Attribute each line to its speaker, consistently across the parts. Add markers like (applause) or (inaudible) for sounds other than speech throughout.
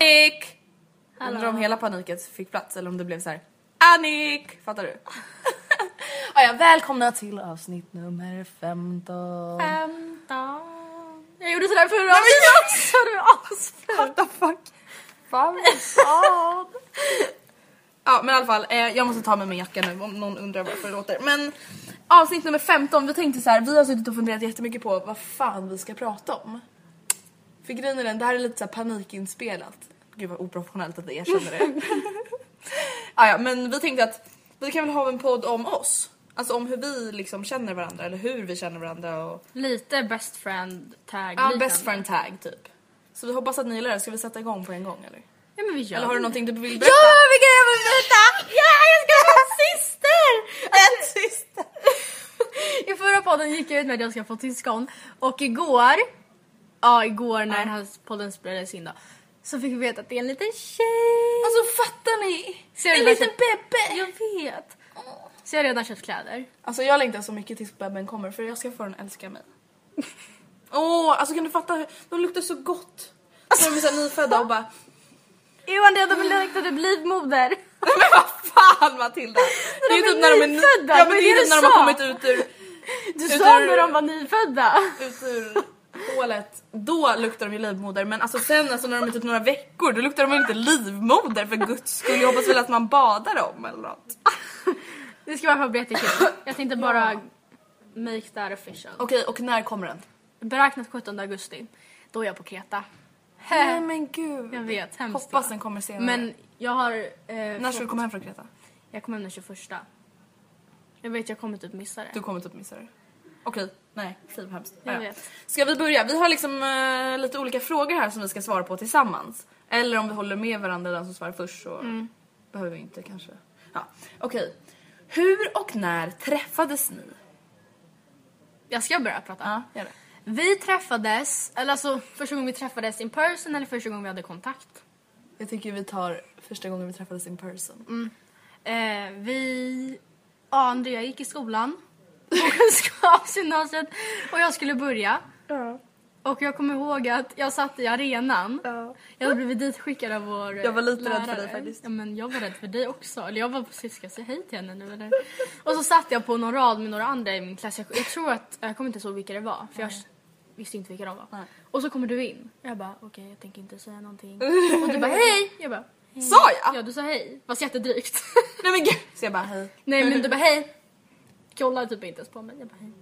Speaker 1: Annick! Undrar om hela paniken fick plats eller om det blev så här. Annick! Fattar (laughs) du?
Speaker 2: Ah, ja, välkomna till avsnitt nummer 15.
Speaker 1: Femton. Jag gjorde sådär förra avsnittet också! Du är asful! What the fuck? Femton. ja men i alla fall, eh, jag måste ta med mig jacka nu om någon undrar varför det låter. Men avsnitt nummer 15, vi tänkte så här, vi har suttit och funderat jättemycket på vad fan vi ska prata om. För grejen är den, det här är lite så här panikinspelat. Gud vad oprofessionellt att vi
Speaker 3: (laughs)
Speaker 1: erkänner det. ah, ja, men vi tänkte att vi kan väl ha en podd om oss. Alltså om hur vi liksom känner varandra eller hur vi känner varandra och
Speaker 3: Lite best friend tag.
Speaker 1: Ja,
Speaker 3: liknande.
Speaker 1: best friend tag typ. Så vi hoppas att ni gillar det. Ska vi sätta igång på en gång eller?
Speaker 3: Ja, men vi gör
Speaker 1: Eller har du någonting du vill berätta?
Speaker 3: Ja, vilken jag vill berätta! Ja, jag ska ha en syster!
Speaker 1: (laughs)
Speaker 3: En syster! (laughs) (laughs) I förra podden gick jag ut med att jag ska få syskon och igår, ja igår när den här podden spelades in då, så fick vi veta att det är en liten tjej.
Speaker 1: Alltså fattar ni?
Speaker 3: Så jag
Speaker 1: En
Speaker 3: redan
Speaker 1: liten
Speaker 3: köpt-
Speaker 1: bebbe!
Speaker 3: typ- Jag vet. Så jag har redan köpt kläder.
Speaker 1: Alltså jag längtar så mycket tills bebben kommer för jag ska få den att älska mig. (laughs) Åh, alltså kan du fatta? hur- De luktar så gott. Alltså, de är såhär nyfödda och bara
Speaker 3: Johan, det de längtade blivmoder.
Speaker 1: (laughs) Men vad fan Matilda! Det är ju
Speaker 3: är
Speaker 1: typ när de är ny-
Speaker 3: nyfödda,
Speaker 1: Ja
Speaker 3: vad
Speaker 1: men
Speaker 3: är
Speaker 1: det är
Speaker 3: det
Speaker 1: typ
Speaker 3: du
Speaker 1: när de har kommit
Speaker 3: sa?
Speaker 1: ut ur,
Speaker 3: Du
Speaker 1: Hur
Speaker 3: sa
Speaker 1: du-
Speaker 3: när de var nyfödda.
Speaker 1: ut ur hålet. Då luktar de ju livmoder men alltså sen alltså, när de är typ några veckor då luktar de väl inte livmoder för guds skull. Jag hoppas väl att man badar dem eller (laughs) något.
Speaker 3: Det ska i alla fall bli jättekul. Jag tänkte bara make that official.
Speaker 1: Okej och när kommer den?
Speaker 3: Beräknat 17 augusti. Då är jag på Kreta.
Speaker 1: Nej men gud.
Speaker 3: Jag vet, hemskt.
Speaker 1: Hoppas
Speaker 3: va?
Speaker 1: den kommer senare.
Speaker 3: Men jag har... Eh,
Speaker 1: när ska du komma hem från Kreta?
Speaker 3: Jag kommer hem den 21. Jag vet, jag kommer typ missa det.
Speaker 1: Du kommer typ missa det. Okej, nej, fy vad hemskt.
Speaker 3: Jag
Speaker 1: Ja, ja.
Speaker 3: vet.
Speaker 1: Ska vi börja? Vi har liksom eh, lite olika frågor här som vi ska svara på tillsammans. Eller om vi håller med varandra, den som svarar först så behöver vi inte kanske. Ja, okej. Hur och när träffades ni?
Speaker 3: Jag ska börja prata.
Speaker 1: Ja, gör det.
Speaker 3: Vi träffades, eller alltså första gången vi träffades in person eller första gången vi hade kontakt.
Speaker 1: Jag tycker vi tar första gången vi träffades in person.
Speaker 3: Eh, vi... Ja, Andrea gick i skolan. På kunskapsgymnasiet. Och jag skulle börja. Och jag kommer ihåg att jag satt i arenan. Jag hade blivit ditskickad av vår eh,
Speaker 1: Jag var lite rädd för dig
Speaker 3: lärare.
Speaker 1: faktiskt.
Speaker 3: Ja, men jag var rädd för dig också. Eller jag var precis, ska jag säga hej till henne nu eller? Och så satt jag på någon rad med några andra i min klass. Jag, jag tror att, jag kommer inte ihåg vilka det var. För jag visste inte vilka de var.
Speaker 1: Nej.
Speaker 3: Och så kommer du in. Jag bara okej jag tänker inte
Speaker 1: (laughs)
Speaker 3: säga någonting. Och du bara hej! Jag bara hej.
Speaker 1: Sa jag?
Speaker 3: Ja du sa hej. Fast jättedrygt. (laughs)
Speaker 1: Nej men gud! Så jag bara hej.
Speaker 3: Nej men du bara hej. Kollade typ inte ens på mig. Jag bara hej.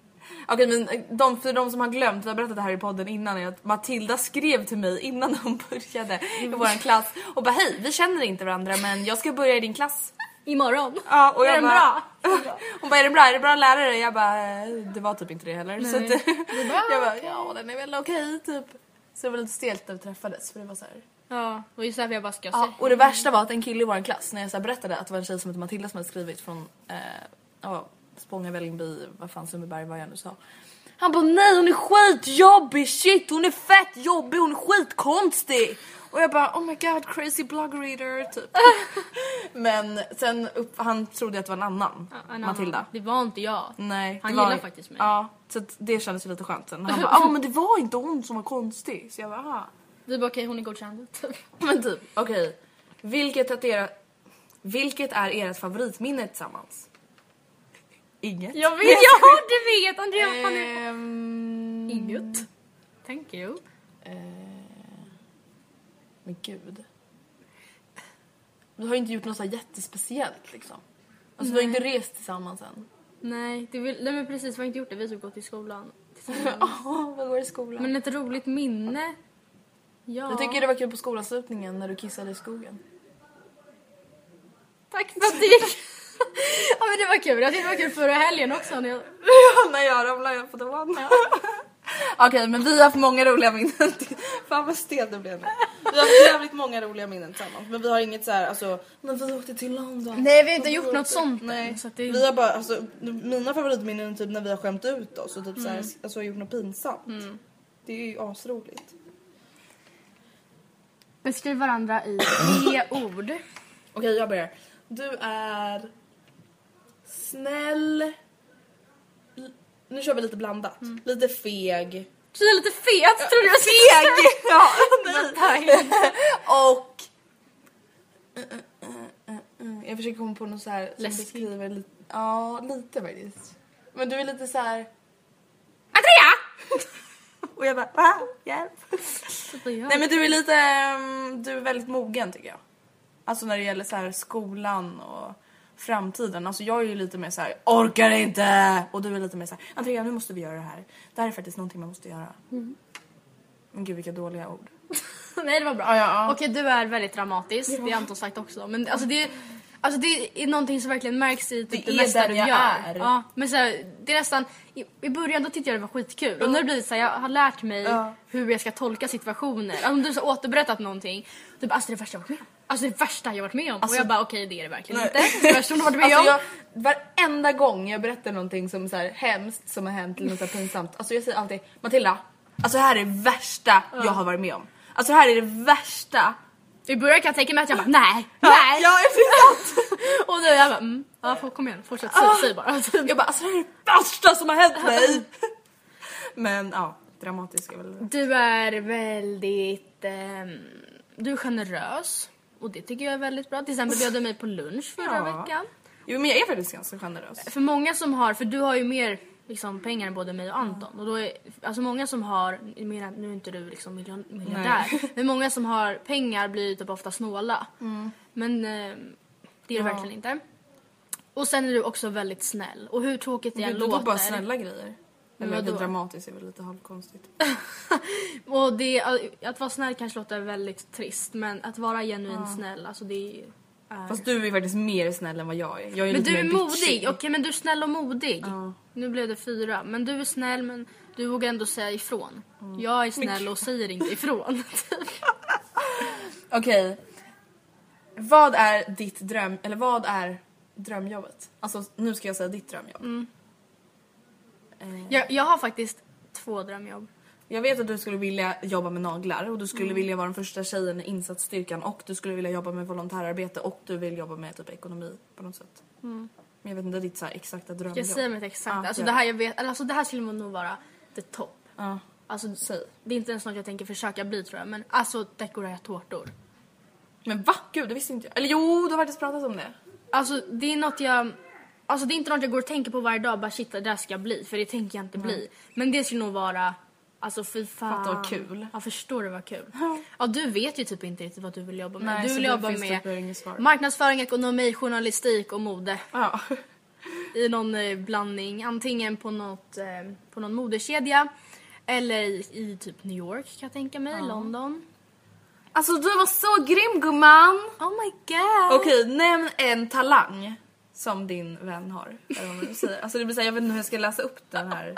Speaker 1: Okej men eh, de, för de som har glömt, vi har berättat det här i podden innan, är att Matilda skrev till mig (laughs) Mm. innan hon började i vår klass och bara hej, vi känner inte varandra men jag ska börja i din klass.
Speaker 3: imorgon.
Speaker 1: Ja, och
Speaker 3: är
Speaker 1: jag
Speaker 3: den
Speaker 1: bara,
Speaker 3: bra?
Speaker 1: (laughs) Hon bara, är den bra? Är det bra lärare? Jag bara, eh, det var typ inte det heller. Så att, (laughs) jag bara, ja den är väl okej typ. Så det var lite stelt när vi träffades för det var så här.
Speaker 3: Ja, och just därför jag bara ska jag
Speaker 1: Ja,
Speaker 3: säga.
Speaker 1: och det värsta var att en kille i vår klass, när jag så här berättade att det var en tjej som hette Matilda som hade skrivit från eh, ja, Spånga, Vällingby, vad fan Sundbyberg, vad jag nu sa. Han bara nej hon är skitjobbig, shit hon är fett jobbig, hon är skitkonstig. Och jag bara oh my god crazy blog reader
Speaker 3: (laughs)
Speaker 1: typ. Men sen upp, han trodde att det var en annan,
Speaker 3: Ja, en annan.
Speaker 1: Matilda. Mm.
Speaker 3: Det var inte jag.
Speaker 1: Nej,
Speaker 3: Han
Speaker 1: det var-
Speaker 3: gillar faktiskt mig.
Speaker 1: Ja, så att det kändes ju lite skönt sen. Han
Speaker 3: (laughs)
Speaker 1: bara ja men det var inte hon som var konstig. Så jag bara aha.
Speaker 3: Vi bara okej hon är godkänd.
Speaker 1: (laughs) Men typ, okej. Vilket, att era, vilket är ert favoritminne tillsammans? Inget.
Speaker 3: jag vet! Ja du vet! Andrea fan
Speaker 1: Eh,
Speaker 3: är...
Speaker 1: Ehm,
Speaker 3: Inget. Thank you.
Speaker 1: men gud. Vi har ju inte gjort något så här jättespeciellt liksom. Alltså vi har inte rest tillsammans än.
Speaker 3: Nej, det vill, nej men precis vi har inte gjort det. Vi har typ gått i skolan.
Speaker 1: Åh, (laughs) vad går i skolan?
Speaker 3: Men ett roligt minne. Ja.
Speaker 1: jag tycker det var kul på skolavslutningen när du kissade i skogen.
Speaker 3: Tack för att det gick. (laughs) ja men det var kul. Jag tyckte det var kul förra helgen också. När jag...
Speaker 1: Ja, (laughs) när jag ramlade på toan. Okej, men vi har haft många roliga minnen. (laughs) Fan vad stel det blev nu. Vi har haft jävligt många roliga minnen tillsammans. Men vi har inget så här, alltså, när vi åkte till London.
Speaker 3: Nej vi har inte gjort något sånt
Speaker 1: Nej,
Speaker 3: än. Så att det...
Speaker 1: vi har bara, alltså, mina favoritminnen är typ när vi har skämt ut oss och typ så här, alltså, gjort något pinsamt. Det är ju asroligt.
Speaker 3: Beskriv varandra i tre ord.
Speaker 1: Okej, jag börjar. Du är snäll. L- Nu kör vi lite blandat. Lite feg.
Speaker 3: Så jag är lite fet trodde jag skulle
Speaker 1: Feg! Ja, nej.
Speaker 3: (laughs)
Speaker 1: Och... Jag försöker komma på något så här som
Speaker 3: Läskigt.
Speaker 1: beskriver lite. Ja, lite faktiskt. Men du är lite så här...
Speaker 3: Andrea!
Speaker 1: (laughs) Och jag bara, ah, hjälp.
Speaker 3: Ja.
Speaker 1: Nej men du är lite, ehm, du är väldigt mogen tycker jag. Alltså när det gäller så här skolan och framtiden. Alltså jag är ju lite mer så här, orkar inte! Och du är lite mer så här, Andrea nu måste vi göra det här. Det här är faktiskt någonting man måste göra. Men gud vilka dåliga ord. (laughs)
Speaker 3: Nej det var bra.
Speaker 1: Ja, ja, ja.
Speaker 3: Okej du är väldigt dramatisk, det har Anton sagt också. Men alltså det, alltså det är någonting som verkligen märks i typ
Speaker 1: Det
Speaker 3: det,
Speaker 1: är
Speaker 3: mesta
Speaker 1: den
Speaker 3: du
Speaker 1: jag
Speaker 3: gör.
Speaker 1: är.
Speaker 3: Ja, men så här, det är nästan, i, i början då tyckte jag det var skitkul och nu blir det så här, jag har lärt mig
Speaker 1: Ja.
Speaker 3: hur jag ska tolka situationer. Alltså, om du har återberättat någonting, typ alltså det är det värsta jag varit med om. Alltså det värsta jag varit med om.
Speaker 1: Alltså-
Speaker 3: och jag bara okej det är det verkligen
Speaker 1: Nej.
Speaker 3: inte. Det värsta du varit med
Speaker 1: Alltså
Speaker 3: om.
Speaker 1: jag, varenda gång jag berättar någonting som så här hemskt som har hänt eller något så här pinsamt. Alltså jag säger alltid Matilda, alltså det här är det värsta jag har varit med om. Alltså det här är det värsta.
Speaker 3: I början kan jag tänka mig att jag bara nej, nej.
Speaker 1: Ja, exakt.
Speaker 3: Och nu är jag bara mm, ja, få- kom igen fortsätt, säg,
Speaker 1: Ah.
Speaker 3: säg bara.
Speaker 1: (laughs)
Speaker 3: Typ.
Speaker 1: Jag bara alltså det här är det värsta som har hänt mig. Men ja, dramatisk är väl
Speaker 3: Du är väldigt... ehm, du är generös. Och det tycker jag är väldigt bra. Till exempel bjöd du mig på lunch förra
Speaker 1: Ja.
Speaker 3: veckan.
Speaker 1: Jo men jag är faktiskt ganska generös.
Speaker 3: För många som har, för du har ju mer liksom, pengar än både mig och Anton. Och då är, alltså många som har, jag menar, nu är inte du liksom miljon-
Speaker 1: (laughs)
Speaker 3: miljardär. Men många som har pengar blir ju typ ofta snåla.
Speaker 1: Mm.
Speaker 3: Men ehm, det är du verkligen inte. Och sen är du också väldigt snäll. Och hur tråkigt det än
Speaker 1: Du du
Speaker 3: låter.
Speaker 1: tog bara snälla grejer. Eller
Speaker 3: vadå?
Speaker 1: det dramatiskt är väl lite halvkonstigt.
Speaker 3: Och det, att vara snäll kanske låter väldigt trist men att vara genuint snäll, alltså det är...
Speaker 1: Fast du är faktiskt mer snäll än vad jag är. Jag är
Speaker 3: men
Speaker 1: lite
Speaker 3: du är
Speaker 1: mer
Speaker 3: modig,
Speaker 1: bitchig.
Speaker 3: okej men du är snäll och modig.
Speaker 1: Ja.
Speaker 3: Nu blev det fyra, men du är snäll men du vågar ändå säga ifrån. Jag är snäll och säger
Speaker 1: (laughs)
Speaker 3: inte ifrån. (laughs)
Speaker 1: Okej. Vad är ditt dröm, eller vad är drömjobbet? Alltså nu ska jag säga ditt drömjobb.
Speaker 3: Mm. jag, jag har faktiskt två drömjobb.
Speaker 1: Jag vet att du skulle vilja jobba med naglar och du skulle
Speaker 3: Mm.
Speaker 1: vilja vara den första tjejen i insatsstyrkan och du skulle vilja jobba med volontärarbete och du vill jobba med typ ekonomi på något sätt. Men jag vet inte ditt så här exakta drömjobb.
Speaker 3: Mm. Jag säger mitt exakta,
Speaker 1: Ja,
Speaker 3: alltså,
Speaker 1: gör
Speaker 3: det
Speaker 1: det.
Speaker 3: här jag vet, eller alltså det här skulle nog vara the top.
Speaker 1: Ja.
Speaker 3: Alltså,
Speaker 1: Säg.
Speaker 3: Det är inte ens något jag tänker försöka bli tror jag men alltså dekorera tårtor.
Speaker 1: Men va? Gud det visste inte jag. Eller jo du har faktiskt pratat om det.
Speaker 3: Alltså det är något jag... Alltså det är inte något jag går och tänker på varje dag, bara shit det där ska jag bli, för det tänker jag inte bli. Men det skulle nog vara... Alltså fy fan.
Speaker 1: Fatta vad kul.
Speaker 3: Ja förstår du vad kul. Ja du vet ju typ inte riktigt vad du vill jobba med.
Speaker 1: Nej,
Speaker 3: du
Speaker 1: så
Speaker 3: vill
Speaker 1: det
Speaker 3: jobba
Speaker 1: finns
Speaker 3: med
Speaker 1: typ inget svar.
Speaker 3: marknadsföring, ekonomi, journalistik och mode.
Speaker 1: Ja.
Speaker 3: I någon eh, blandning, antingen på, något, eh, på någon modekedja eller i, i typ New York kan jag tänka mig, London.
Speaker 1: Alltså du var så grym gumman!
Speaker 3: Oh my god.
Speaker 1: Okej, nämn en talang som din vän har. Eller vad man nu säger. Alltså det blir såhär, jag vet inte hur jag ska läsa upp den här.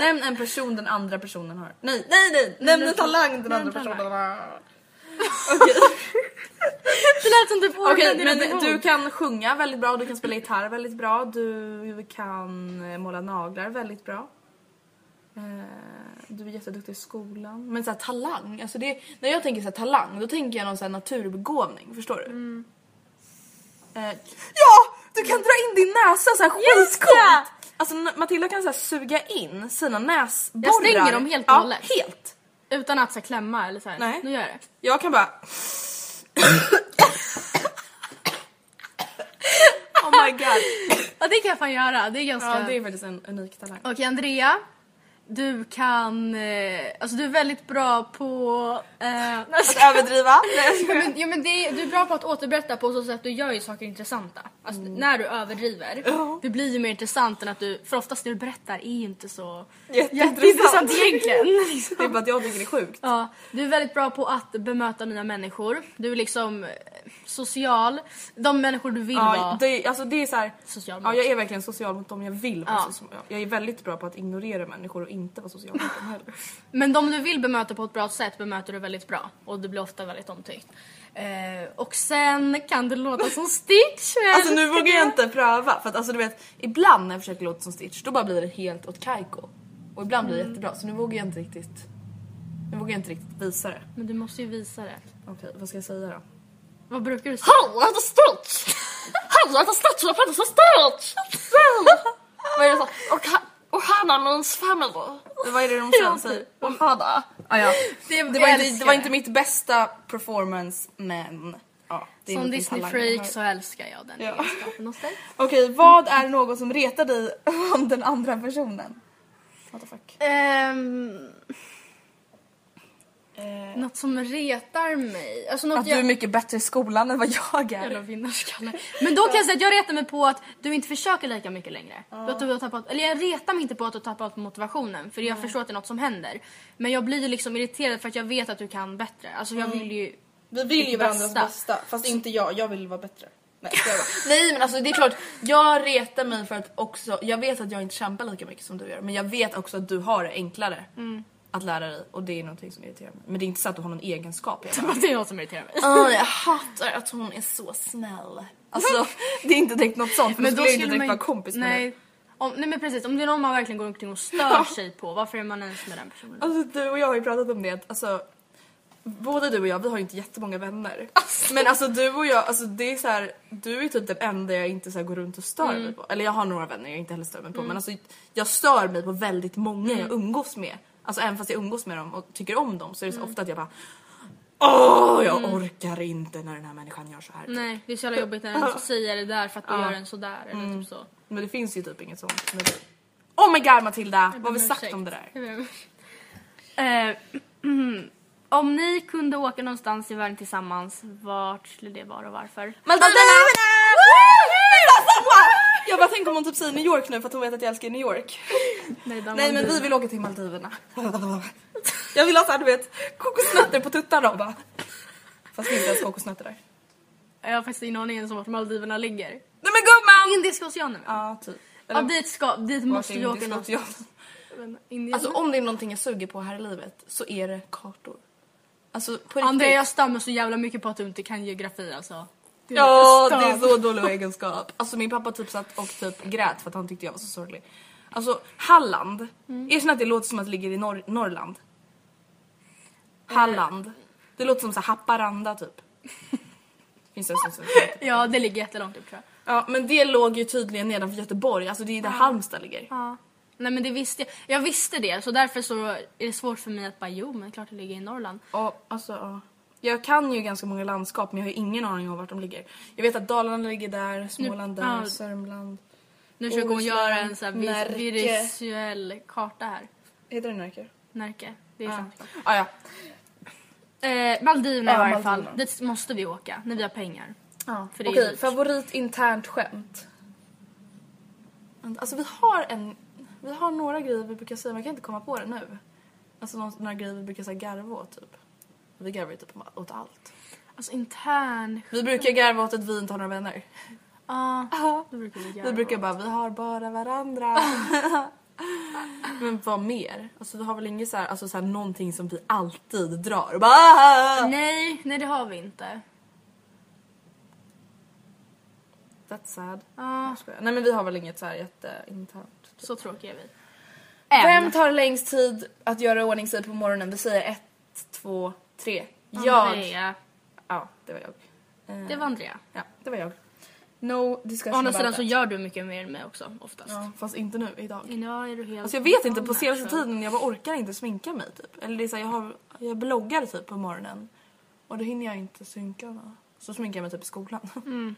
Speaker 1: Nämn en person den andra personen har. Nej, nej, nej! Nämn en talang den andra personen har.
Speaker 3: Det lät som typ
Speaker 1: Okej,
Speaker 3: ordnade
Speaker 1: men
Speaker 3: ord.
Speaker 1: du kan sjunga väldigt bra, du kan spela gitarr väldigt bra, du kan eh, måla naglar väldigt bra. Eh, Du är jätteduktig i skolan. Men så här, talang, alltså det, när jag tänker så här, talang då tänker jag någon så här, naturbegåvning, förstår du?
Speaker 3: Mm.
Speaker 1: Eh, ja! Du kan dra in din näsa så här skitcoolt! Alltså N- Matilda kan så här, suga in sina näsborrar.
Speaker 3: stänger dem helt och
Speaker 1: ja,
Speaker 3: hållet.
Speaker 1: helt.
Speaker 3: Utan att så här, klämma eller så här.
Speaker 1: Nej.
Speaker 3: Nu gör jag det.
Speaker 1: Jag kan bara... oh my god.
Speaker 3: Ja det kan jag fan göra. Det är ganska...
Speaker 1: Ja, det är faktiskt en unik talang.
Speaker 3: Okej Andrea. Du kan... Eh, alltså du är väldigt bra på... Eh,
Speaker 1: Att (laughs) överdriva.
Speaker 3: Ja, men, ja, men det är, du är bra på att återberätta på så sätt att du gör ju saker intressanta. Alltså,
Speaker 1: Mm.
Speaker 3: När du överdriver, det blir ju mer intressant än att du, för oftast det du berättar är ju inte så
Speaker 1: Jätteintressant. liksom.
Speaker 3: jätteintressant egentligen.
Speaker 1: (laughs) Det är bara att jag tycker det är sjukt.
Speaker 3: Ja, du är väldigt bra på att bemöta nya människor. Du är liksom eh, social. De människor du vill
Speaker 1: Ja,
Speaker 3: vara.
Speaker 1: det, är- alltså det är så här,
Speaker 3: Social
Speaker 1: ja,
Speaker 3: mot.
Speaker 1: jag är verkligen social mot dem jag vill vara
Speaker 3: Ja.
Speaker 1: social. Jag är väldigt bra på att ignorera människor och inte vara social mot dem heller.
Speaker 3: Men de du vill bemöta på ett bra sätt bemöter du väldigt bra. Och du blir ofta väldigt omtyckt. Eh, och sen kan du låta som Stitch. men-
Speaker 1: Alltså nu vågar jag inte pröva för att alltså du vet ibland när jag försöker låta som Stitch då bara blir det helt åt Kaiko. Och ibland blir det jättebra så nu vågar jag inte riktigt nu vågar jag inte riktigt visa det.
Speaker 3: Men du måste ju visa det.
Speaker 1: Okej, vad ska jag säga då?
Speaker 3: Vad brukar du säga?
Speaker 1: Hallå, jag heter Stitch! Hallå, jag heter Stitch och jag pratar som Stitch! Vad är det så? Och, ha- och Hanna means family. Vad är det de sen säger? Och Hanna. Ah, ja.
Speaker 3: Det,
Speaker 1: det, var inte, det var inte mitt bästa performance men ja, det är
Speaker 3: Som
Speaker 1: en liten talang jag har.
Speaker 3: Disney-freak så älskar jag den
Speaker 1: Ja.
Speaker 3: egenskapen hos dig.
Speaker 1: Okej, vad är något som retar dig (laughs) om den andra personen? What the fuck? Ehm.
Speaker 3: Um, Ehm. något som retar mig. Alltså något
Speaker 1: Att du är
Speaker 3: jag...
Speaker 1: mycket bättre i skolan än vad jag
Speaker 3: Jävla
Speaker 1: är.
Speaker 3: (laughs) vinnarskalle. Men då kan jag säga att jag retar mig på att du inte försöker lika mycket längre. Att du har tappat, eller jag retar mig inte på att du har tappat motivationen för jag förstår att det är något som händer. Men jag blir ju liksom irriterad för att jag vet att du kan bättre. Alltså jag
Speaker 1: Mm.
Speaker 3: vill ju...
Speaker 1: Vi vill ju
Speaker 3: Ditt
Speaker 1: varandras
Speaker 3: bästa.
Speaker 1: bästa, fast inte jag. Jag vill vara bättre. Nej, ska jag vara. Nej men alltså det är klart, (laughs) jag retar mig för att också, jag vet att jag inte kämpar lika mycket som du gör men jag vet också att du har det enklare att lära dig och det är någonting som irriterar mig. Men det är inte så att du har någon egenskap. (laughs) Jag bara,
Speaker 3: Det är något som irriterar mig.
Speaker 1: "Åh, jag hatar att hon är så snäll. (laughs) Alltså det är inte direkt något sånt för men då skulle jag inte direkt vara kompis med dig.
Speaker 3: nej. Om, nej men precis, om det är någon man verkligen går omkring och stör sig på, varför är man ens med den personen?
Speaker 1: Alltså du och jag har ju pratat om det att alltså Både du och jag, vi har ju inte jättemånga vänner. Men alltså du och jag, alltså det är så här, du är typ den enda jag inte så här går runt och stör mig på. Eller jag har några vänner jag inte heller stör mig på men alltså jag stör mig på väldigt många jag umgås med. Alltså även fast jag umgås med dem och tycker om dem så är det så ofta att jag bara Åh jag orkar inte när den här människan gör så här.
Speaker 3: Nej, det är så jävla jobbigt när den säger det där för att du gör en sådär eller
Speaker 1: Mm.
Speaker 3: typ så.
Speaker 1: Men det finns ju typ inget sånt med dig. Oh my god Matilda! Vad har vi
Speaker 3: Men
Speaker 1: sagt
Speaker 3: ursäkt.
Speaker 1: om det där?
Speaker 3: Jag ber om ursäkt. Eh, (clears throat) Om ni kunde åka någonstans i världen tillsammans, vart skulle det vara och varför?
Speaker 1: Maldiverna! Jag bara tänker om hon typ säger New York nu för att hon vet att jag älskar New York.
Speaker 3: Nej, de
Speaker 1: Nej men vi vill åka till Maldiverna. Jag vill ha såhär du vet kokosnötter på tuttarna och bara. Fast det är inte ens kokosnötter där.
Speaker 3: Jag har faktiskt ingen aning ens om vart Maldiverna ligger.
Speaker 1: Nej men gumman!
Speaker 3: Indiska oceanen? Ja,
Speaker 1: Ja typ.
Speaker 3: ja dit, ska, dit måste vi åka
Speaker 1: något.
Speaker 3: någonstans. Indien?
Speaker 1: Alltså om det är någonting jag suger på här i livet så är det kartor. Alltså på riktigt.
Speaker 3: Andrea jag stammar så jävla mycket på att du inte kan geografi alltså. Det är
Speaker 1: Ja,
Speaker 3: stört.
Speaker 1: det är så dålig egenskap. Alltså min pappa typ satt och typ grät för att han tyckte jag var så sorglig. Alltså Halland, erkänn att det låter som att det ligger i norr- Norrland. Halland. Det låter som så här Haparanda (laughs) typ. Finns det en sån som heter?
Speaker 3: Ja, det ligger jättelångt upp tror jag.
Speaker 1: Ja men det låg ju tydligen nedanför Göteborg, alltså det är ju där Halmstad ligger.
Speaker 3: Nej men det visste jag. Jag visste det så därför så är det svårt för mig att bara jo men klart det ligger i Norrland.
Speaker 1: Ja, alltså ja. Jag kan ju ganska många landskap men jag har ju ingen aning om vart de ligger. Jag vet att Dalarna ligger där, Småland där,
Speaker 3: ja.
Speaker 1: Sörmland.
Speaker 3: Nu försöker hon
Speaker 1: Bohuslän,
Speaker 3: göra en så här
Speaker 1: Närke.
Speaker 3: vis- visuell karta här.
Speaker 1: Heter det Närke?
Speaker 3: Närke. Det är
Speaker 1: Ja.
Speaker 3: sant.
Speaker 1: Ah, ja.
Speaker 3: Eh, Maldiverna i
Speaker 1: Ja,
Speaker 3: varje fall.
Speaker 1: Maldiverna.
Speaker 3: Dit måste vi åka när vi har pengar.
Speaker 1: Ja,
Speaker 3: för det är
Speaker 1: Okej,
Speaker 3: dyrt.
Speaker 1: favorit internt skämt. Alltså vi har en... Vi har några grejer vi brukar säga, men jag kan inte komma på det nu. Alltså någon, några grejer vi brukar säga garva åt typ. Vi garvar ju typ åt allt.
Speaker 3: Alltså intern...
Speaker 1: Vi brukar garva åt ett vi inte har några vänner.
Speaker 3: Ja,
Speaker 1: Ja.
Speaker 3: det brukar vi göra.
Speaker 1: Vi brukar bara, vi har bara (laughs) varandra. Men vad mer? Alltså vi har väl inget så här, alltså så här någonting som vi alltid drar och bara "Ah!"
Speaker 3: Nej, nej det har vi inte.
Speaker 1: That's sad. Ah,
Speaker 3: Ja,
Speaker 1: Jag skojar. Nej men vi har väl inget så här jätteinternt.
Speaker 3: så tråkiga är vi.
Speaker 1: Vem tar längst tid att göra i ordning sig på morgonen? Vi säger ett, två, tre. Jag.
Speaker 3: Andrea.
Speaker 1: Ja, det var jag. Eh,
Speaker 3: Det var Andrea.
Speaker 1: Ja, det var jag. No
Speaker 3: Å
Speaker 1: discussion
Speaker 3: andra sidan
Speaker 1: about
Speaker 3: så
Speaker 1: that.
Speaker 3: gör du mycket mer än mig också, oftast.
Speaker 1: Ja, fast inte nu, idag.
Speaker 3: Idag är du helt...
Speaker 1: Alltså jag vet inte, på
Speaker 3: galen,
Speaker 1: senaste
Speaker 3: alltså.
Speaker 1: tiden jag bara orkar inte sminka mig typ. Eller det är så här, jag, har, jag bloggar typ på morgonen. Och då hinner jag inte synka mig. Så sminkar jag mig typ i skolan. (laughs)
Speaker 3: Mm.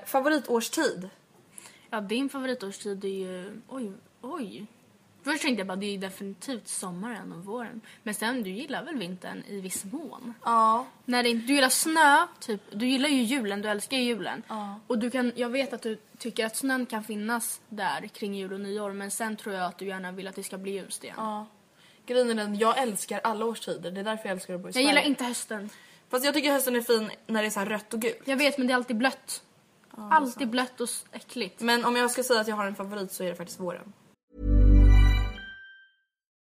Speaker 1: Eh, favoritårstid?
Speaker 3: alltså. Ja, din favoritårstid är ju... Oj, oj. Först tänkte jag bara det är ju definitivt sommaren och våren. Men sen, du gillar väl vintern i viss mån?
Speaker 1: Ja.
Speaker 3: När det, inte- du gillar snö, typ. Du gillar ju julen, du älskar ju julen. Och du kan, jag vet att du tycker att snön kan finnas där kring jul och nyår men sen tror jag att du gärna vill att det ska bli ljust igen.
Speaker 1: ja. Grejen är den, jag älskar alla årstider. Det är därför jag älskar att bo i
Speaker 3: jag
Speaker 1: Sverige.
Speaker 3: gillar inte hösten.
Speaker 1: Fast jag tycker hösten är fin när det är så här rött och gult.
Speaker 3: Jag vet men det är alltid blött. alltid blött och s- äckligt.
Speaker 1: Men om jag ska säga att jag har en favorit så är det faktiskt våren.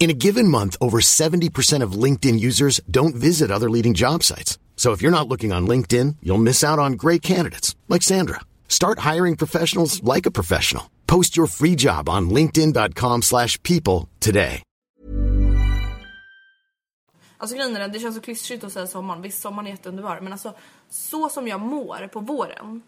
Speaker 4: In a given month, over 70% of LinkedIn users don't visit other leading job sites. So if you're not looking on LinkedIn, you'll miss out on great candidates like Sandra. Start hiring professionals like a professional. Post your free job on linkedin.com/people slash people today.
Speaker 1: Alltså grejen är den, det känns så klyschigt att säga sommaren. Visst sommaren är jätteunderbar men alltså så som jag mår på våren.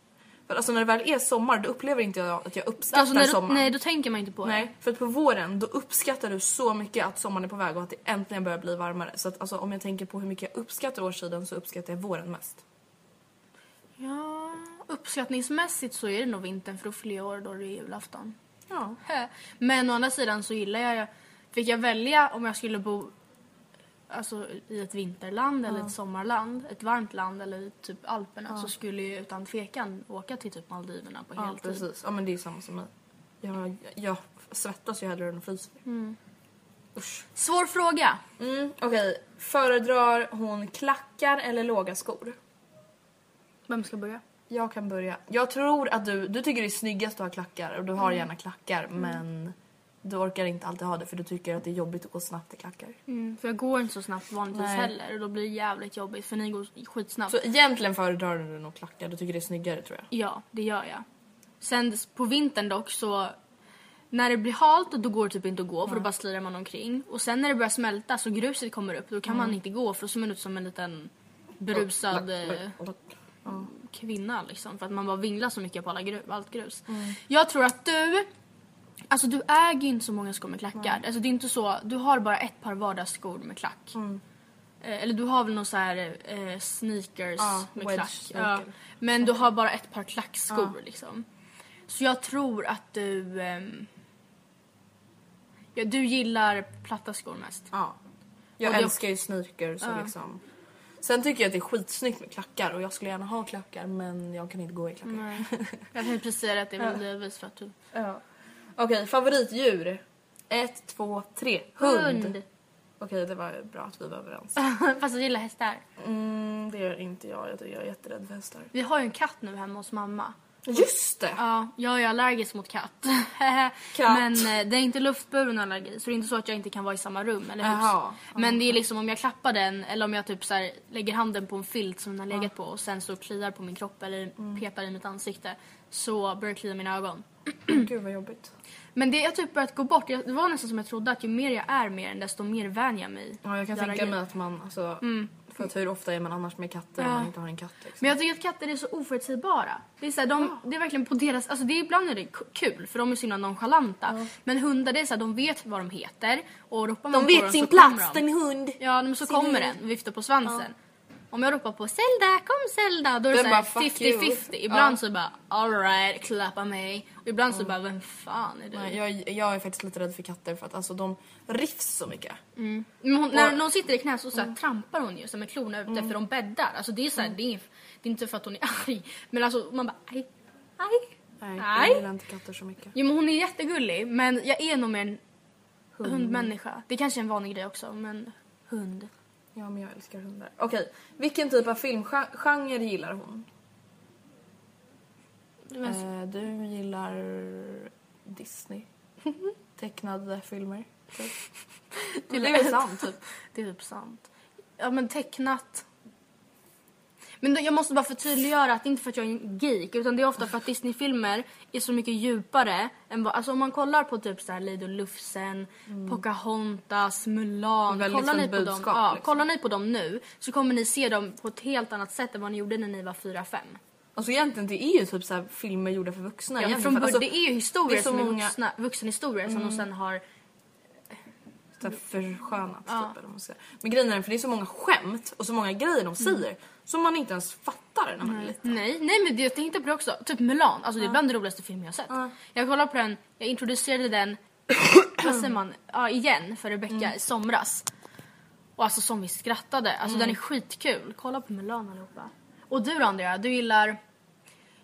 Speaker 1: För alltså när det väl är sommar då upplever inte jag att jag uppskattar
Speaker 3: Alltså, när du,
Speaker 1: sommaren.
Speaker 3: nej, då tänker man inte på det.
Speaker 1: Nej, för att på våren då uppskattar du så mycket att sommaren är på väg och att det äntligen börjar bli varmare. Så att alltså om jag tänker på hur mycket jag uppskattar årstiden så uppskattar jag våren mest.
Speaker 3: Ja, uppskattningsmässigt så är det nog vintern för då fyller jag år då det är julafton.
Speaker 1: Ja.
Speaker 3: Men å andra sidan så gillar jag, fick jag välja om jag skulle bo alltså, i ett vinterland eller ett sommarland, ett varmt land eller i typ Alperna så skulle jag utan tvekan åka till typ Maldiverna på
Speaker 1: Ja
Speaker 3: heltid.
Speaker 1: precis, ja men det är samma som mig. Jag, jag svettas ju hellre än fryser. Usch.
Speaker 3: Svår fråga.
Speaker 1: Mm, Okej, föredrar hon klackar eller låga skor?
Speaker 3: Vem ska börja?
Speaker 1: Jag kan börja. Jag tror att du, du tycker det är snyggast att ha klackar och du har gärna klackar men du orkar inte alltid ha det för du tycker att det är jobbigt att gå snabbt i klackar.
Speaker 3: Mm, För jag går inte så snabbt vanligtvis
Speaker 1: Nej.
Speaker 3: heller och då blir det jävligt jobbigt för ni går skitsnabbt.
Speaker 1: Så egentligen föredrar du nog klackar, du tycker det är snyggare tror jag.
Speaker 3: Ja, det gör jag. Sen s- på vintern dock så när det blir halt då går det typ inte att gå för då bara slirar man omkring. Och sen när det börjar smälta så gruset kommer upp då kan man inte gå för då ser man ut som en liten berusad eh, kvinna liksom. För att man bara vinglar så mycket på alla gru- allt grus.
Speaker 1: Mm.
Speaker 3: Jag tror att du, alltså du äger ju inte så många skor med klackar. Alltså det är inte så, du har bara ett par vardagsskor med klack.
Speaker 1: Mm.
Speaker 3: Eh, Eller du har väl någon så här eh, sneakers
Speaker 1: Ja,
Speaker 3: med
Speaker 1: wedge
Speaker 3: klack.
Speaker 1: sneaker.
Speaker 3: Ja. Men du har bara ett par klackskor liksom. Så jag tror att du... ehm, ja, du gillar platta skor mest.
Speaker 1: Ja. Jag
Speaker 3: Och det-
Speaker 1: älskar ju sneakers och liksom. Sen tycker jag att det är skitsnyggt med klackar och jag skulle gärna ha klackar men jag kan inte gå i klackar.
Speaker 3: Nej.
Speaker 1: (laughs)
Speaker 3: Jag kan precis säga att det är väl delvis för att du...
Speaker 1: Ja. Okej, favoritdjur? Ett, två, tre. Hund. Okej, det var bra att vi var
Speaker 3: (laughs)
Speaker 1: överens.
Speaker 3: Fast jag gillar hästar.
Speaker 1: Mm, det gör inte jag. Jag, tycker jag är jätterädd för hästar.
Speaker 3: Vi har ju en katt nu hemma hos mamma.
Speaker 1: Just det!
Speaker 3: Ja, jag är allergisk mot katt. (laughs)
Speaker 1: Katt.
Speaker 3: Men eh, det är inte luftburen allergi så det är inte så att jag inte kan vara i samma rum eller hus.
Speaker 1: Jaha.
Speaker 3: Men det är liksom om jag klappar den eller om jag typ så här, lägger handen på en filt som den har legat på och sen så kliar på min kropp eller
Speaker 1: Mm.
Speaker 3: petar i mitt ansikte så börjar det klia i mina ögon.
Speaker 1: Gud vad jobbigt.
Speaker 3: Men det har typ börjat gå bort. Jag- Det var nästan som jag trodde att ju mer jag är med den desto mer vänjer jag mig.
Speaker 1: Ja, jag kan
Speaker 3: vid
Speaker 1: tänka
Speaker 3: allergi.
Speaker 1: mig att man alltså... För att hur ofta är man annars med katter om
Speaker 3: Mm. Ja.
Speaker 1: man inte har en katt liksom?
Speaker 3: Men jag tycker att katter är så oförutsägbara. Det är, så här, de, det är verkligen på deras, alltså det är ibland är det k- kul för de är så himla nonchalanta. Men hundar det är så här, de vet vad de heter och ropar man
Speaker 5: De
Speaker 3: på
Speaker 5: vet
Speaker 3: dem
Speaker 5: sin
Speaker 3: så kommer
Speaker 5: plats,
Speaker 3: de.
Speaker 5: den hund.
Speaker 3: Ja men så kommer den och viftar på svansen. Om jag ropar på Zelda, kom Zelda, då är det
Speaker 1: Den
Speaker 3: såhär
Speaker 1: bara, fuck
Speaker 3: 50-50.
Speaker 1: you.
Speaker 3: Ibland
Speaker 1: Ja.
Speaker 3: så bara alright, klappa mig. Och ibland så bara vem fan är du?
Speaker 1: Nej, jag, jag är faktiskt lite rädd för katter för att alltså de rivs så mycket.
Speaker 3: Men hon, när hon sitter i knä så, så här, trampar hon ju som med klorna ute för de bäddar. Alltså det är så här, det, är, det är inte för att hon är (laughs) arg. Men alltså man bara aj, aj,
Speaker 1: Nej, jag
Speaker 3: aj.
Speaker 1: gillar inte katter så mycket.
Speaker 3: Jo men hon är jättegullig men jag är nog mer en hundmänniska. Det kanske är en vanlig grej också men hund.
Speaker 1: Ja, men jag älskar hundar. Okej, vilken typ av filmgenre gillar hon? Eh, du gillar Disney.
Speaker 3: (laughs)
Speaker 1: Tecknade filmer. Typ. Det är väl sant typ.
Speaker 3: Det är typ sant. Ja men tecknat. Men då, jag måste bara förtydliggöra att det är inte för att jag är en geek utan det är ofta för att Disney-filmer är så mycket djupare än vad, alltså om man kollar på typ såhär Lido Lufsen, Pocahontas, Mulan.
Speaker 1: Mm. Väldigt
Speaker 3: kollar ni
Speaker 1: sånt
Speaker 3: på dem,
Speaker 1: budskap,
Speaker 3: ja,
Speaker 1: liksom.
Speaker 3: kollar ni på dem nu så kommer ni se dem på ett helt annat sätt än vad ni gjorde när ni var 4-5.
Speaker 1: Alltså egentligen det är ju typ så här filmer gjorda för vuxna.
Speaker 3: Ja,
Speaker 1: egentligen,
Speaker 3: från
Speaker 1: för,
Speaker 3: början
Speaker 1: alltså,
Speaker 3: det är ju historier
Speaker 1: det är så
Speaker 3: som är
Speaker 1: många- Mm.
Speaker 3: vuxna, vuxenhistorier som de sen har
Speaker 1: så här förskönat. Typ, eller vad man ska säga. Men grejen är för det är så många skämt och så många grejer de säger som man inte ens fattar när man är liten.
Speaker 3: Mm. Nej, nej men det- jag tänkte på det också. Typ Mulan, alltså det är bland det roligaste film jag har sett. Jag kollade på den, jag
Speaker 1: (clears throat)
Speaker 3: introducerade den, vad säger man, ja, igen för Rebecca
Speaker 1: Mm.
Speaker 3: i somras. Och alltså som vi skrattade, alltså
Speaker 1: Mm.
Speaker 3: den är skitkul. Kolla på Mulan allihopa. Och du då Andrea, du gillar,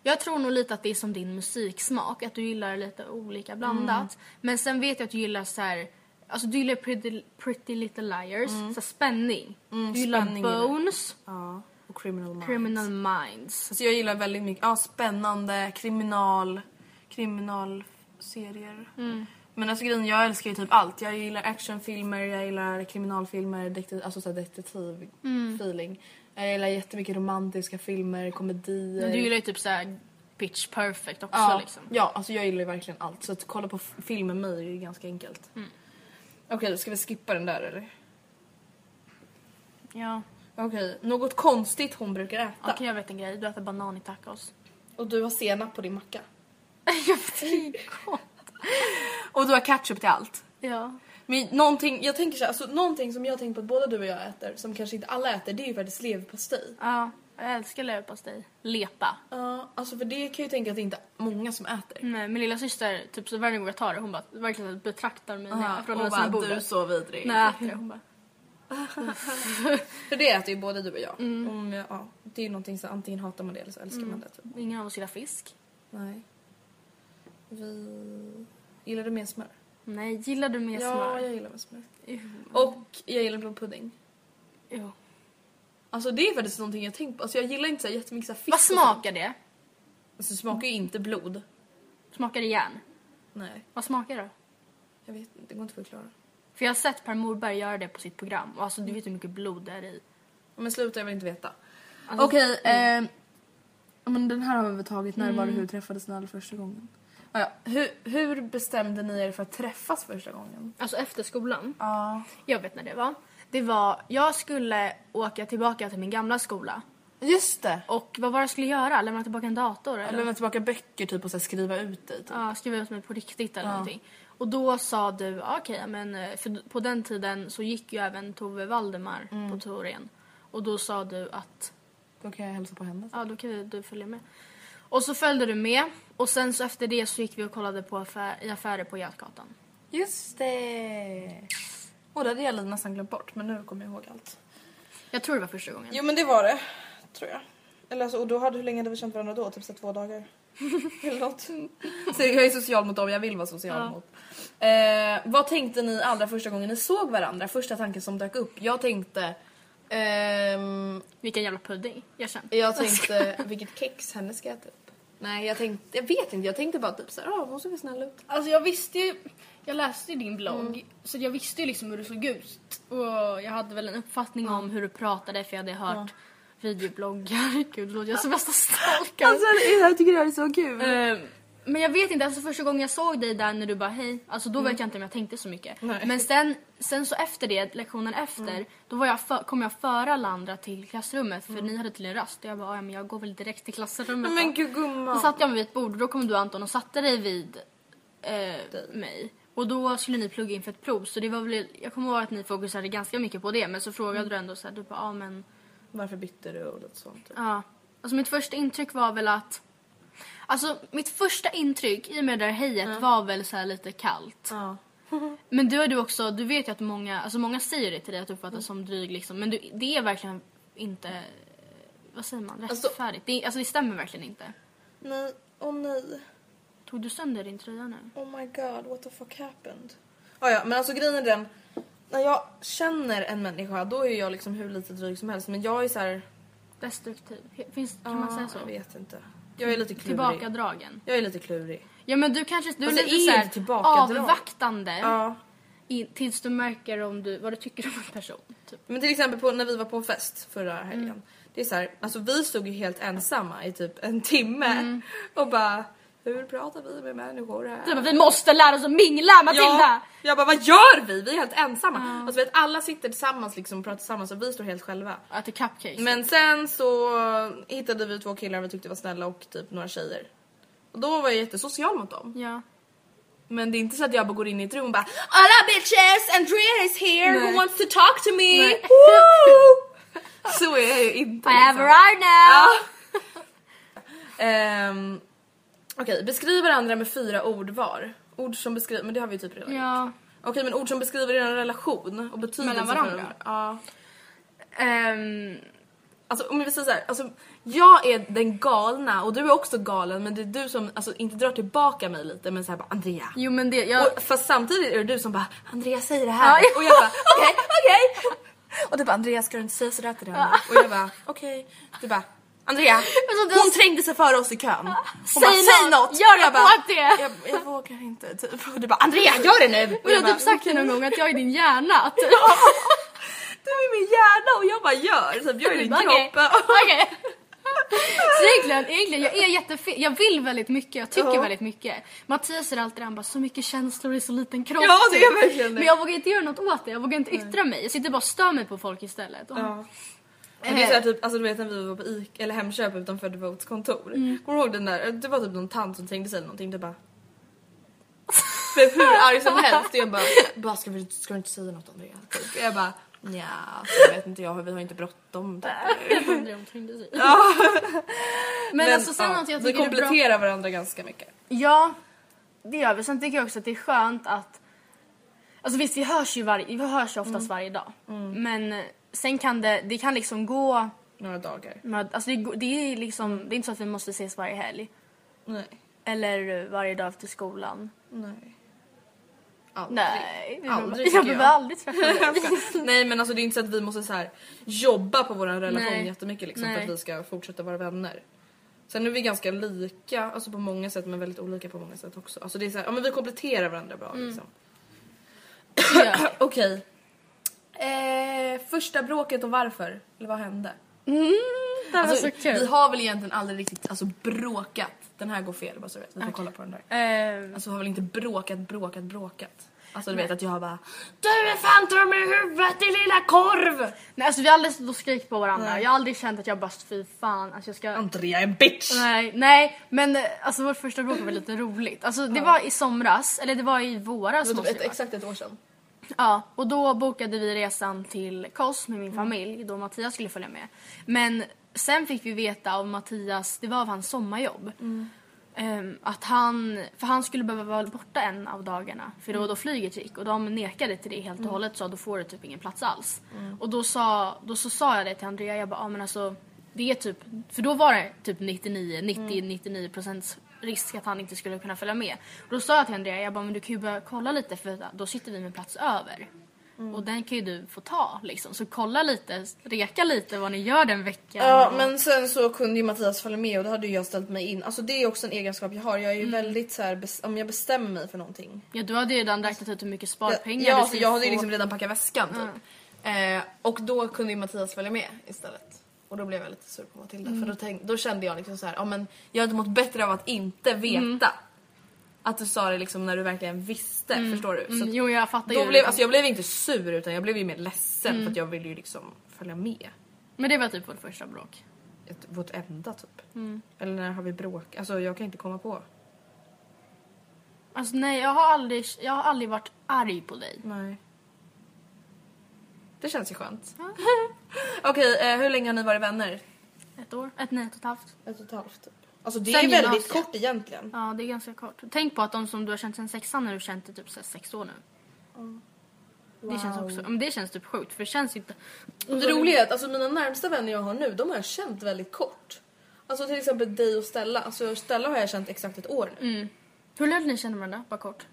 Speaker 3: jag tror nog lite att det är som din musiksmak, att du gillar lite olika blandat.
Speaker 1: Mm.
Speaker 3: Men sen vet jag att du gillar så här. Alltså du gillar Pretty, pretty Little Liars, så här spänning. du gillar
Speaker 1: Mm. spänning gillar jag.
Speaker 3: Bones,
Speaker 1: Ja, och criminal minds.
Speaker 3: Criminal Minds.
Speaker 1: Alltså jag gillar väldigt mycket ja, spännande, kriminal, kriminalserier. Men alltså grejen, jag älskar ju typ allt. Jag gillar actionfilmer, jag gillar kriminalfilmer, detektiv, alltså såhär detektivfeeling. Jag gillar jättemycket romantiska filmer, komedier.
Speaker 3: Men du gillar ju typ såhär pitch perfect också
Speaker 1: ja,
Speaker 3: liksom.
Speaker 1: ja, alltså jag gillar ju verkligen allt. Så att kolla på f- film med mig är ju ganska enkelt. Okej, ska vi skippa den där eller?
Speaker 3: Ja.
Speaker 1: Okej, något konstigt hon brukar äta.
Speaker 3: Okej jag vet en grej, du äter banan i tacos. (laughs)
Speaker 1: Och du har senap på din macka.
Speaker 3: jag vet
Speaker 1: Och du har ketchup till allt.
Speaker 3: Ja.
Speaker 1: Men någonting, jag tänker så här, alltså, någonting som jag tänker på att båda du och jag äter, som kanske inte alla äter, det är ju faktiskt leverpastej.
Speaker 3: Ja, jag älskar leverpastej. Lepa.
Speaker 1: Ja, alltså för det kan jag ju tänka att det inte är många som äter.
Speaker 3: Nej, min lilla syster, typ så varje gång jag tar det, hon bara verkligen betraktar mig när jag från
Speaker 1: och
Speaker 3: andra sidan
Speaker 1: bara, du är
Speaker 3: bordet.
Speaker 1: så vidrig.
Speaker 3: När jag äter det, hon bara.
Speaker 1: (laughs) För det äter ju både du och jag.
Speaker 3: Mm.
Speaker 1: Om, ja, det är ju någonting så antingen hatar man det eller så älskar man det. Typ.
Speaker 3: Ingen av oss gillar fisk.
Speaker 1: Nej. Vi... Gillar du mer smör?
Speaker 3: Nej, gillar du mer
Speaker 1: ja,
Speaker 3: smör?
Speaker 1: jag gillar mer smör.
Speaker 3: Jo.
Speaker 1: Och jag gillar blodpudding.
Speaker 3: Jo.
Speaker 1: Alltså det är faktiskt någonting jag tänkt på. Alltså jag gillar inte så här jättemycket så här fisk.
Speaker 3: Vad
Speaker 1: och sånt.
Speaker 3: smakar det?
Speaker 1: Alltså det smakar
Speaker 3: Mm.
Speaker 1: ju inte blod.
Speaker 3: Smakar det järn?
Speaker 1: Nej,
Speaker 3: Vad smakar det?
Speaker 1: jag vet inte. Det går inte att förklara.
Speaker 3: För jag har sett Per Morberg göra det på sitt program och alltså du vet hur mycket blod det är i.
Speaker 1: Men sluta, jag vill inte veta.
Speaker 3: Alltså,
Speaker 1: Okej,
Speaker 3: mm.
Speaker 1: eh, men den här har vi väl tagit. När var det hur träffades ni allra första gången? Ah, ja. hur, hur bestämde ni er för att träffas första gången?
Speaker 3: Alltså efter skolan.
Speaker 1: Ja.
Speaker 3: Jag vet när det var. Det var, jag skulle åka tillbaka till min gamla skola.
Speaker 1: Just det!
Speaker 3: Och vad var det jag skulle göra? Lämna tillbaka en dator eller?
Speaker 1: Jag lämnade tillbaka böcker typ och så här, skriva ut dig. Typ.
Speaker 3: Ja, skriva ut mig på riktigt eller någonting. Och då sa du, ja, okej men eh, för på den tiden så gick ju även Tove Valdemar
Speaker 5: Mm.
Speaker 3: på Torén. Och då sa du att,
Speaker 1: Då kan jag hälsa på henne.
Speaker 3: ja då kan vi- du följa med. Och så följde du med och sen så efter det så gick vi och kollade på affär, i affärer på Götgatan.
Speaker 1: Just det! Och det hade jag nästan glömt bort men nu kommer jag ihåg allt.
Speaker 3: Jag tror det var första gången.
Speaker 1: (laughs) Jo men det var det, tror jag. Eller alltså, och då hade, hur länge hade vi känt varandra då? Typ så här två dagar? Förlåt. Så jag är social mot dem jag vill vara social mot. Eh, vad tänkte ni allra första gången ni såg varandra? Första tanken som dök upp. Jag tänkte... ehm,
Speaker 3: Vilken jävla pudding. Jag känner.
Speaker 1: jag
Speaker 5: alltså,
Speaker 1: (laughs) tänkte vilket kex henne ska äta upp. Nej jag tänkte, jag vet inte, jag tänkte bara typ såhär, åh hon ser väl snäll ut. Mm.
Speaker 5: Alltså jag visste ju, jag läste ju din blogg så jag visste ju liksom hur du såg ut och jag hade väl en uppfattning om
Speaker 3: Om hur du pratade för jag hade hört videobloggar. (laughs) Gud, låter jag som värsta stalkern.
Speaker 1: Alltså, jag tycker det här är så kul.
Speaker 3: Ehm, men jag vet inte, alltså första gången jag såg dig där när du bara hej, alltså då vet jag inte om jag tänkte så mycket.
Speaker 1: Mm. Nej. Mm.
Speaker 3: Men sen, sen så efter det, lektionen efter, då var jag för, kom jag före alla andra till klassrummet för ni hade till en rast och jag bara "Ah, ja, men jag går väl direkt till klassrummet
Speaker 1: Mm. Men
Speaker 3: då."
Speaker 1: gud gumman.
Speaker 3: Då satt jag mig vid ett bord och då kom du Anton och satte dig vid eh, mig. Och då skulle ni plugga inför ett prov så det var väl, jag kommer ihåg att ni fokuserade ganska mycket på det men så
Speaker 1: Mm.
Speaker 3: frågade du ändå såhär, du bara ja men
Speaker 1: Varför bytte du och lite sånt. typ.
Speaker 3: Ja. Alltså mitt första intryck var väl att... Alltså mitt första intryck i och med det där hejet var väl så här lite kallt.
Speaker 1: Ja. (laughs)
Speaker 3: Men du är du också, du vet ju att många, alltså många säger det till dig att du uppfattas
Speaker 1: Mm.
Speaker 3: som dryg liksom. Men du, det är verkligen inte, vad säger man,
Speaker 1: Alltså-
Speaker 3: rättfärdigt. det, alltså det stämmer verkligen inte.
Speaker 1: Nej, åh nej.
Speaker 3: Tog du sönder din tröja nu?
Speaker 1: Oh my god, what the fuck happened? Ah, ja, men alltså grejen är den. När jag känner en människa då är jag liksom hur lite dryg som helst men jag är så här.
Speaker 3: Destruktiv. Finns, kan man
Speaker 1: ah,
Speaker 3: säga så?
Speaker 1: Jag vet inte. Jag är lite klurig.
Speaker 3: Tillbakadragen.
Speaker 1: Jag är lite klurig.
Speaker 3: Ja men du kanske, du är
Speaker 1: Fast det är
Speaker 3: lite såhär
Speaker 1: ju tillbakadrag.
Speaker 3: avvaktande.
Speaker 1: Ja.
Speaker 3: i- tills du märker om du, vad du tycker om en person. Typ.
Speaker 1: Men till exempel på, när vi var på en fest förra
Speaker 3: Mm.
Speaker 1: helgen. Det är så här, alltså vi stod ju helt ensamma i typ en timme och bara hur pratar vi med människor här?
Speaker 3: Du bara, Mm. Typ, vi måste lära oss att mingla Matilda!
Speaker 1: Ja, jag bara vad gör vi? Vi är helt ensamma. Alltså vet, alla sitter tillsammans liksom och pratar tillsammans och vi står helt själva.
Speaker 3: Att det är cupcakes.
Speaker 1: Men sen så hittade vi två killar vi tyckte var snälla och typ några tjejer. Och då var jag jättesocial mot dem.
Speaker 3: Ja.
Speaker 1: Men det är inte så att jag bara går in i ett rum och bara Alla bitches! Andrea is here! Who
Speaker 3: Nej.
Speaker 1: wants to talk to me?
Speaker 3: Nej. (laughs)
Speaker 1: Woo! så är jag ju inte.
Speaker 3: I have a
Speaker 1: liksom.
Speaker 3: right now!
Speaker 1: Ehm, Okej, beskriv varandra med fyra ord var. Ord som beskriver, men det har vi ju typ redan gjort.
Speaker 3: Ja.
Speaker 1: Okej men ord som beskriver er relation och betydelsen
Speaker 3: Mellan
Speaker 1: för
Speaker 3: varandra?
Speaker 1: varandra. Ja.
Speaker 3: Ehm,
Speaker 1: Alltså om vi säger såhär, alltså, jag är den galna och du är också galen men det är du som alltså, inte drar tillbaka mig lite men såhär bara Andrea.
Speaker 3: jo men det, jag...
Speaker 1: Och, fast samtidigt är det du som bara Andrea säger det här
Speaker 3: Ja, ja.
Speaker 1: och jag bara okej (laughs) okej. Och du bara Andrea ska du inte säga sådär till henne? Och jag bara okej. Du bara Andrea
Speaker 3: Men så du-
Speaker 1: hon trängde sig före oss i kön. Hon
Speaker 3: Säg
Speaker 1: bara,
Speaker 3: något,
Speaker 1: säg något!
Speaker 3: gör
Speaker 1: Och jag
Speaker 3: något
Speaker 1: bara,
Speaker 3: åt det.
Speaker 1: Jag, jag vågar inte typ. Och du bara Andrea gör det nu!
Speaker 3: och jag har
Speaker 1: bara,
Speaker 3: typ sagt det någon gång att jag är din
Speaker 1: (laughs)
Speaker 3: hjärna. Typ.
Speaker 1: Du är min hjärna och jag bara gör! Typ, jag är din
Speaker 3: Okej.
Speaker 1: kropp.
Speaker 3: Okej. Så egentligen, egentligen, jag är jättefin. Jag vill väldigt mycket, jag tycker
Speaker 1: Ja.
Speaker 3: väldigt mycket. Mattias säger alltid det, han bara så mycket känslor i så liten kropp.
Speaker 1: Ja, det är
Speaker 3: typ.
Speaker 1: verkligen det.
Speaker 3: Men jag vågar inte göra något åt det, jag vågar inte yttra mig. Jag sitter bara och stör mig på folk istället.
Speaker 1: Ja. Men det är
Speaker 3: Eh.
Speaker 1: såhär typ, alltså du vet när vi var på ICA, eller Hemköp utanför Devotes kontor.
Speaker 3: Mm.
Speaker 1: Kommer du ihåg den där, det var typ någon tant som trängde sig eller någonting, du
Speaker 3: (laughs)
Speaker 1: bara... Blev hur arg som helst och jag bara, bara ska, vi, ska du inte säga något Andrea? Typ. Och Jag bara nja, alltså, jag vet inte jag, vi har inte
Speaker 3: (laughs)
Speaker 1: bråttom. typ.
Speaker 3: Jag undrar om hon trängde sig. Men, alltså sen något jag
Speaker 1: vi
Speaker 3: tycker är bra.
Speaker 1: kompletterar varandra ganska mycket.
Speaker 3: Ja, det gör vi. Sen tycker jag också att det är skönt att... Alltså visst, vi hörs ju, varje, vi hörs ju oftast
Speaker 1: Mm.
Speaker 3: varje dag. Men eh, sen kan det, det kan liksom gå...
Speaker 1: Några dagar.
Speaker 3: med- Alltså det, går- det är liksom, det är inte så att vi måste ses varje helg.
Speaker 1: Nej.
Speaker 3: Eller varje dag efter skolan.
Speaker 1: Nej. Aldrig.
Speaker 3: Nej, jag
Speaker 1: Aldrig,
Speaker 3: behöver- jag
Speaker 1: tycker jag.
Speaker 3: behöver
Speaker 1: (laughs)
Speaker 3: aldrig träffa dig.
Speaker 1: Nej men alltså det är inte så att vi måste så här, jobba på vår relation
Speaker 3: Nej.
Speaker 1: jättemycket liksom, för
Speaker 3: Nej.
Speaker 1: att vi ska fortsätta vara vänner. Sen är vi ganska lika alltså på många sätt men väldigt olika på många sätt också. Alltså det är så här, ja, men vi kompletterar varandra bra liksom.
Speaker 3: Ja.
Speaker 1: (clears throat) Okej. Eh, första bråket och varför? Eller vad hände?
Speaker 3: (laughs) Mm, det här
Speaker 1: Alltså,
Speaker 3: var så kul.
Speaker 1: Vi har väl egentligen aldrig riktigt alltså, bråkat. Den här går fel bara så du vet. Vi får kolla på den där.
Speaker 3: Ehm,
Speaker 1: Alltså har väl inte bråkat, bråkat, bråkat. Alltså du vet att jag bara Du är fan dum i huvudet din lilla korv!
Speaker 3: nej, alltså vi har aldrig stått och skrikit på varandra.
Speaker 1: Nej.
Speaker 3: Jag har aldrig känt att jag bara fy fan, alltså jag ska...
Speaker 1: Andrea är en bitch!
Speaker 3: Nej, nej, men eh, alltså vårt första bråk var lite roligt. Alltså det var i somras, eller det var i våras
Speaker 1: Det var
Speaker 3: måste
Speaker 1: typ
Speaker 3: det
Speaker 1: ett,
Speaker 3: vara.
Speaker 1: exakt ett år sedan.
Speaker 3: Ja, och då bokade vi resan till Kos med min familj då Mattias skulle följa med. Men sen fick vi veta av Mattias, det var av hans sommarjobb. ehm, att han, för han skulle behöva vara borta en av dagarna för det
Speaker 1: Mm.
Speaker 3: var då flyget gick och de nekade till det helt och
Speaker 1: Mm.
Speaker 3: hållet sa då får du typ ingen plats alls. Och då sa, då så sa jag det till Andrea, jag bara ah, men alltså det Det är typ, för då var det typ 99,
Speaker 1: Mm.
Speaker 3: 90-99 procents risk att han inte skulle kunna följa med. Och då sa jag till Andrea, jag bara men du kan ju börja kolla lite för då sitter vi med plats över.
Speaker 1: Mm.
Speaker 3: Och den kan ju du få ta liksom. Så kolla lite, reka lite vad ni gör den veckan.
Speaker 1: Ja men sen så kunde ju Mattias följa med och då hade ju jag ställt mig in. Alltså det är också en egenskap jag har. Jag är ju väldigt så här, bes- om jag bestämmer mig för någonting.
Speaker 3: ja du hade ju redan räknat ut hur mycket sparpengar
Speaker 1: ja,
Speaker 3: du
Speaker 1: alltså
Speaker 3: skulle
Speaker 1: jag hade ju
Speaker 3: få. Mm.
Speaker 1: liksom redan packat väskan typ. Eh, och då kunde ju Mattias följa med istället. Och då blev jag lite sur på Matilda
Speaker 3: Mm.
Speaker 1: för då, tänk, då kände jag liksom så här, ja men jag hade mått bättre av att inte veta.
Speaker 3: Mm.
Speaker 1: Att du sa det liksom när du verkligen visste, förstår du? Så
Speaker 3: Mm,
Speaker 1: att-
Speaker 3: jo jag fattar
Speaker 1: då
Speaker 3: ju. Mm.
Speaker 1: blev, alltså jag blev inte sur utan jag blev ju mer ledsen för att jag ville ju liksom följa med.
Speaker 3: Men det var typ vårt första bråk.
Speaker 1: Ett, vårt enda typ.
Speaker 3: Mm.
Speaker 1: Eller när har vi bråk? Alltså jag kan inte komma på.
Speaker 3: Alltså nej jag har aldrig, jag har aldrig varit arg på dig.
Speaker 1: Nej. Det känns ju skönt. (laughs) Okej, eh, hur länge har ni varit vänner?
Speaker 3: (laughs) Ett år? Ett, nej ett och ett halvt.
Speaker 1: Ett och ett halvt. Typ. Alltså det
Speaker 3: Sen
Speaker 1: är ju väldigt
Speaker 3: gymnasiet.
Speaker 1: kort egentligen.
Speaker 3: Ja, det är ganska kort. Tänk på att de som du har känt sedan sexan när du känt i typ så här sex år nu. Mm. Det känns också, men det känns typ sjukt för det känns inte... Mm.
Speaker 1: Det roliga är att alltså, mina närmsta vänner jag har nu, de har jag känt väldigt kort. Alltså till exempel dig och Stella. Alltså Stella har jag känt exakt ett år nu.
Speaker 3: Hur lärde ni känna varandra? Bara kort.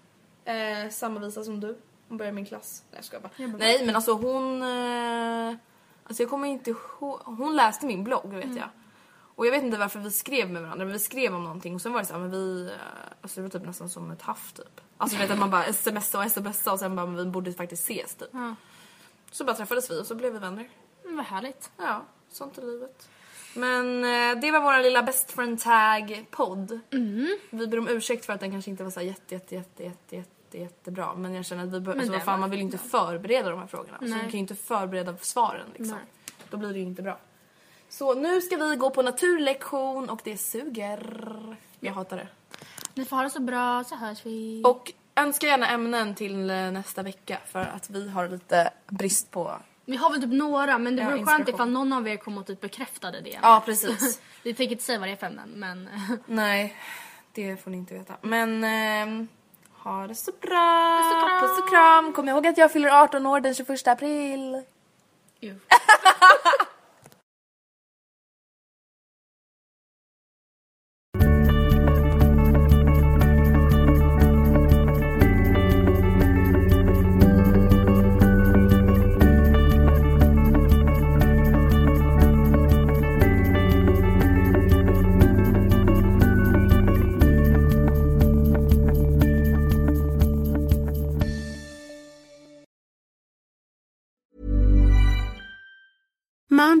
Speaker 1: Eh, samma visa som du. Hon börjar i min klass. Nej jag skojar bara. Nej men alltså hon... Eh, alltså jag kommer inte ihåg. Hon läste min blogg vet jag. Och jag vet inte varför vi skrev med varandra men vi skrev om någonting och sen var det så här, men vi... eh, Alltså det var typ nästan som ett haff typ. Alltså du vet att man bara smsar och smsar och sen bara men vi borde faktiskt ses typ. Så bara träffades vi och så blev vi vänner.
Speaker 3: Mm, vad härligt.
Speaker 1: Ja, sånt är livet. Men eh, det var vår lilla best friend tag podd.
Speaker 3: Mm.
Speaker 1: Vi ber om ursäkt för att den kanske inte var så här jätte, jätte, jätte, jätte, jätte, jättebra. Men jag känner att vi bör, alltså, vad
Speaker 3: det
Speaker 1: fan,
Speaker 3: var
Speaker 1: man vill ju inte förbereda de här frågorna. Så
Speaker 3: Nej.
Speaker 1: vi kan ju inte förbereda svaren liksom.
Speaker 3: Nej.
Speaker 1: Då blir det ju inte bra. Så nu ska vi gå på naturlektion och det suger. Jag hatar
Speaker 3: Mm.
Speaker 1: det.
Speaker 3: Ni får ha det så bra så hörs vi.
Speaker 1: Och önska gärna ämnen till eh, nästa vecka för att vi har lite brist på...
Speaker 3: vi har väl typ några men det
Speaker 1: Ja,
Speaker 3: vore skönt
Speaker 1: inspiration.
Speaker 3: ifall någon av er kom och typ bekräftade det.
Speaker 1: Ja, precis.
Speaker 3: (laughs) Vi tänker inte säga vad det är för ämnen (laughs) men...
Speaker 1: Nej, det får ni inte veta. Men ehm, ha det så bra!
Speaker 3: Puss och kram.
Speaker 1: Puss och kram! Kom ihåg att jag fyller 18 år den 21 april.
Speaker 3: Ew.
Speaker 6: Mom